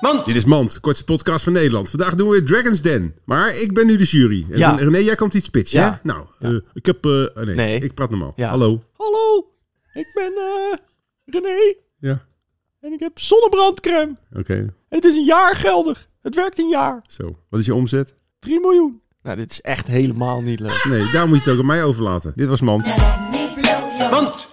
Mand! Dit is Mand, kortste podcast van Nederland. Vandaag doen we Dragon's Den. Maar ik ben nu de jury. En Ja. René, jij komt iets pitchen, Ja. hè? Nou, eh, ik heb... eh, oh nee, Nee. ik praat normaal. Ja. Hallo. Hallo, ik ben eh, René Ja, en ik heb zonnebrandcrème. oké. En het is een jaar geldig. Het werkt een jaar. Zo. Wat is je omzet? 3 miljoen. Nou, dit is echt helemaal niet leuk. Nee, daar moet je het ook aan mij overlaten. Dit was Mand. Now let me blow your Mand!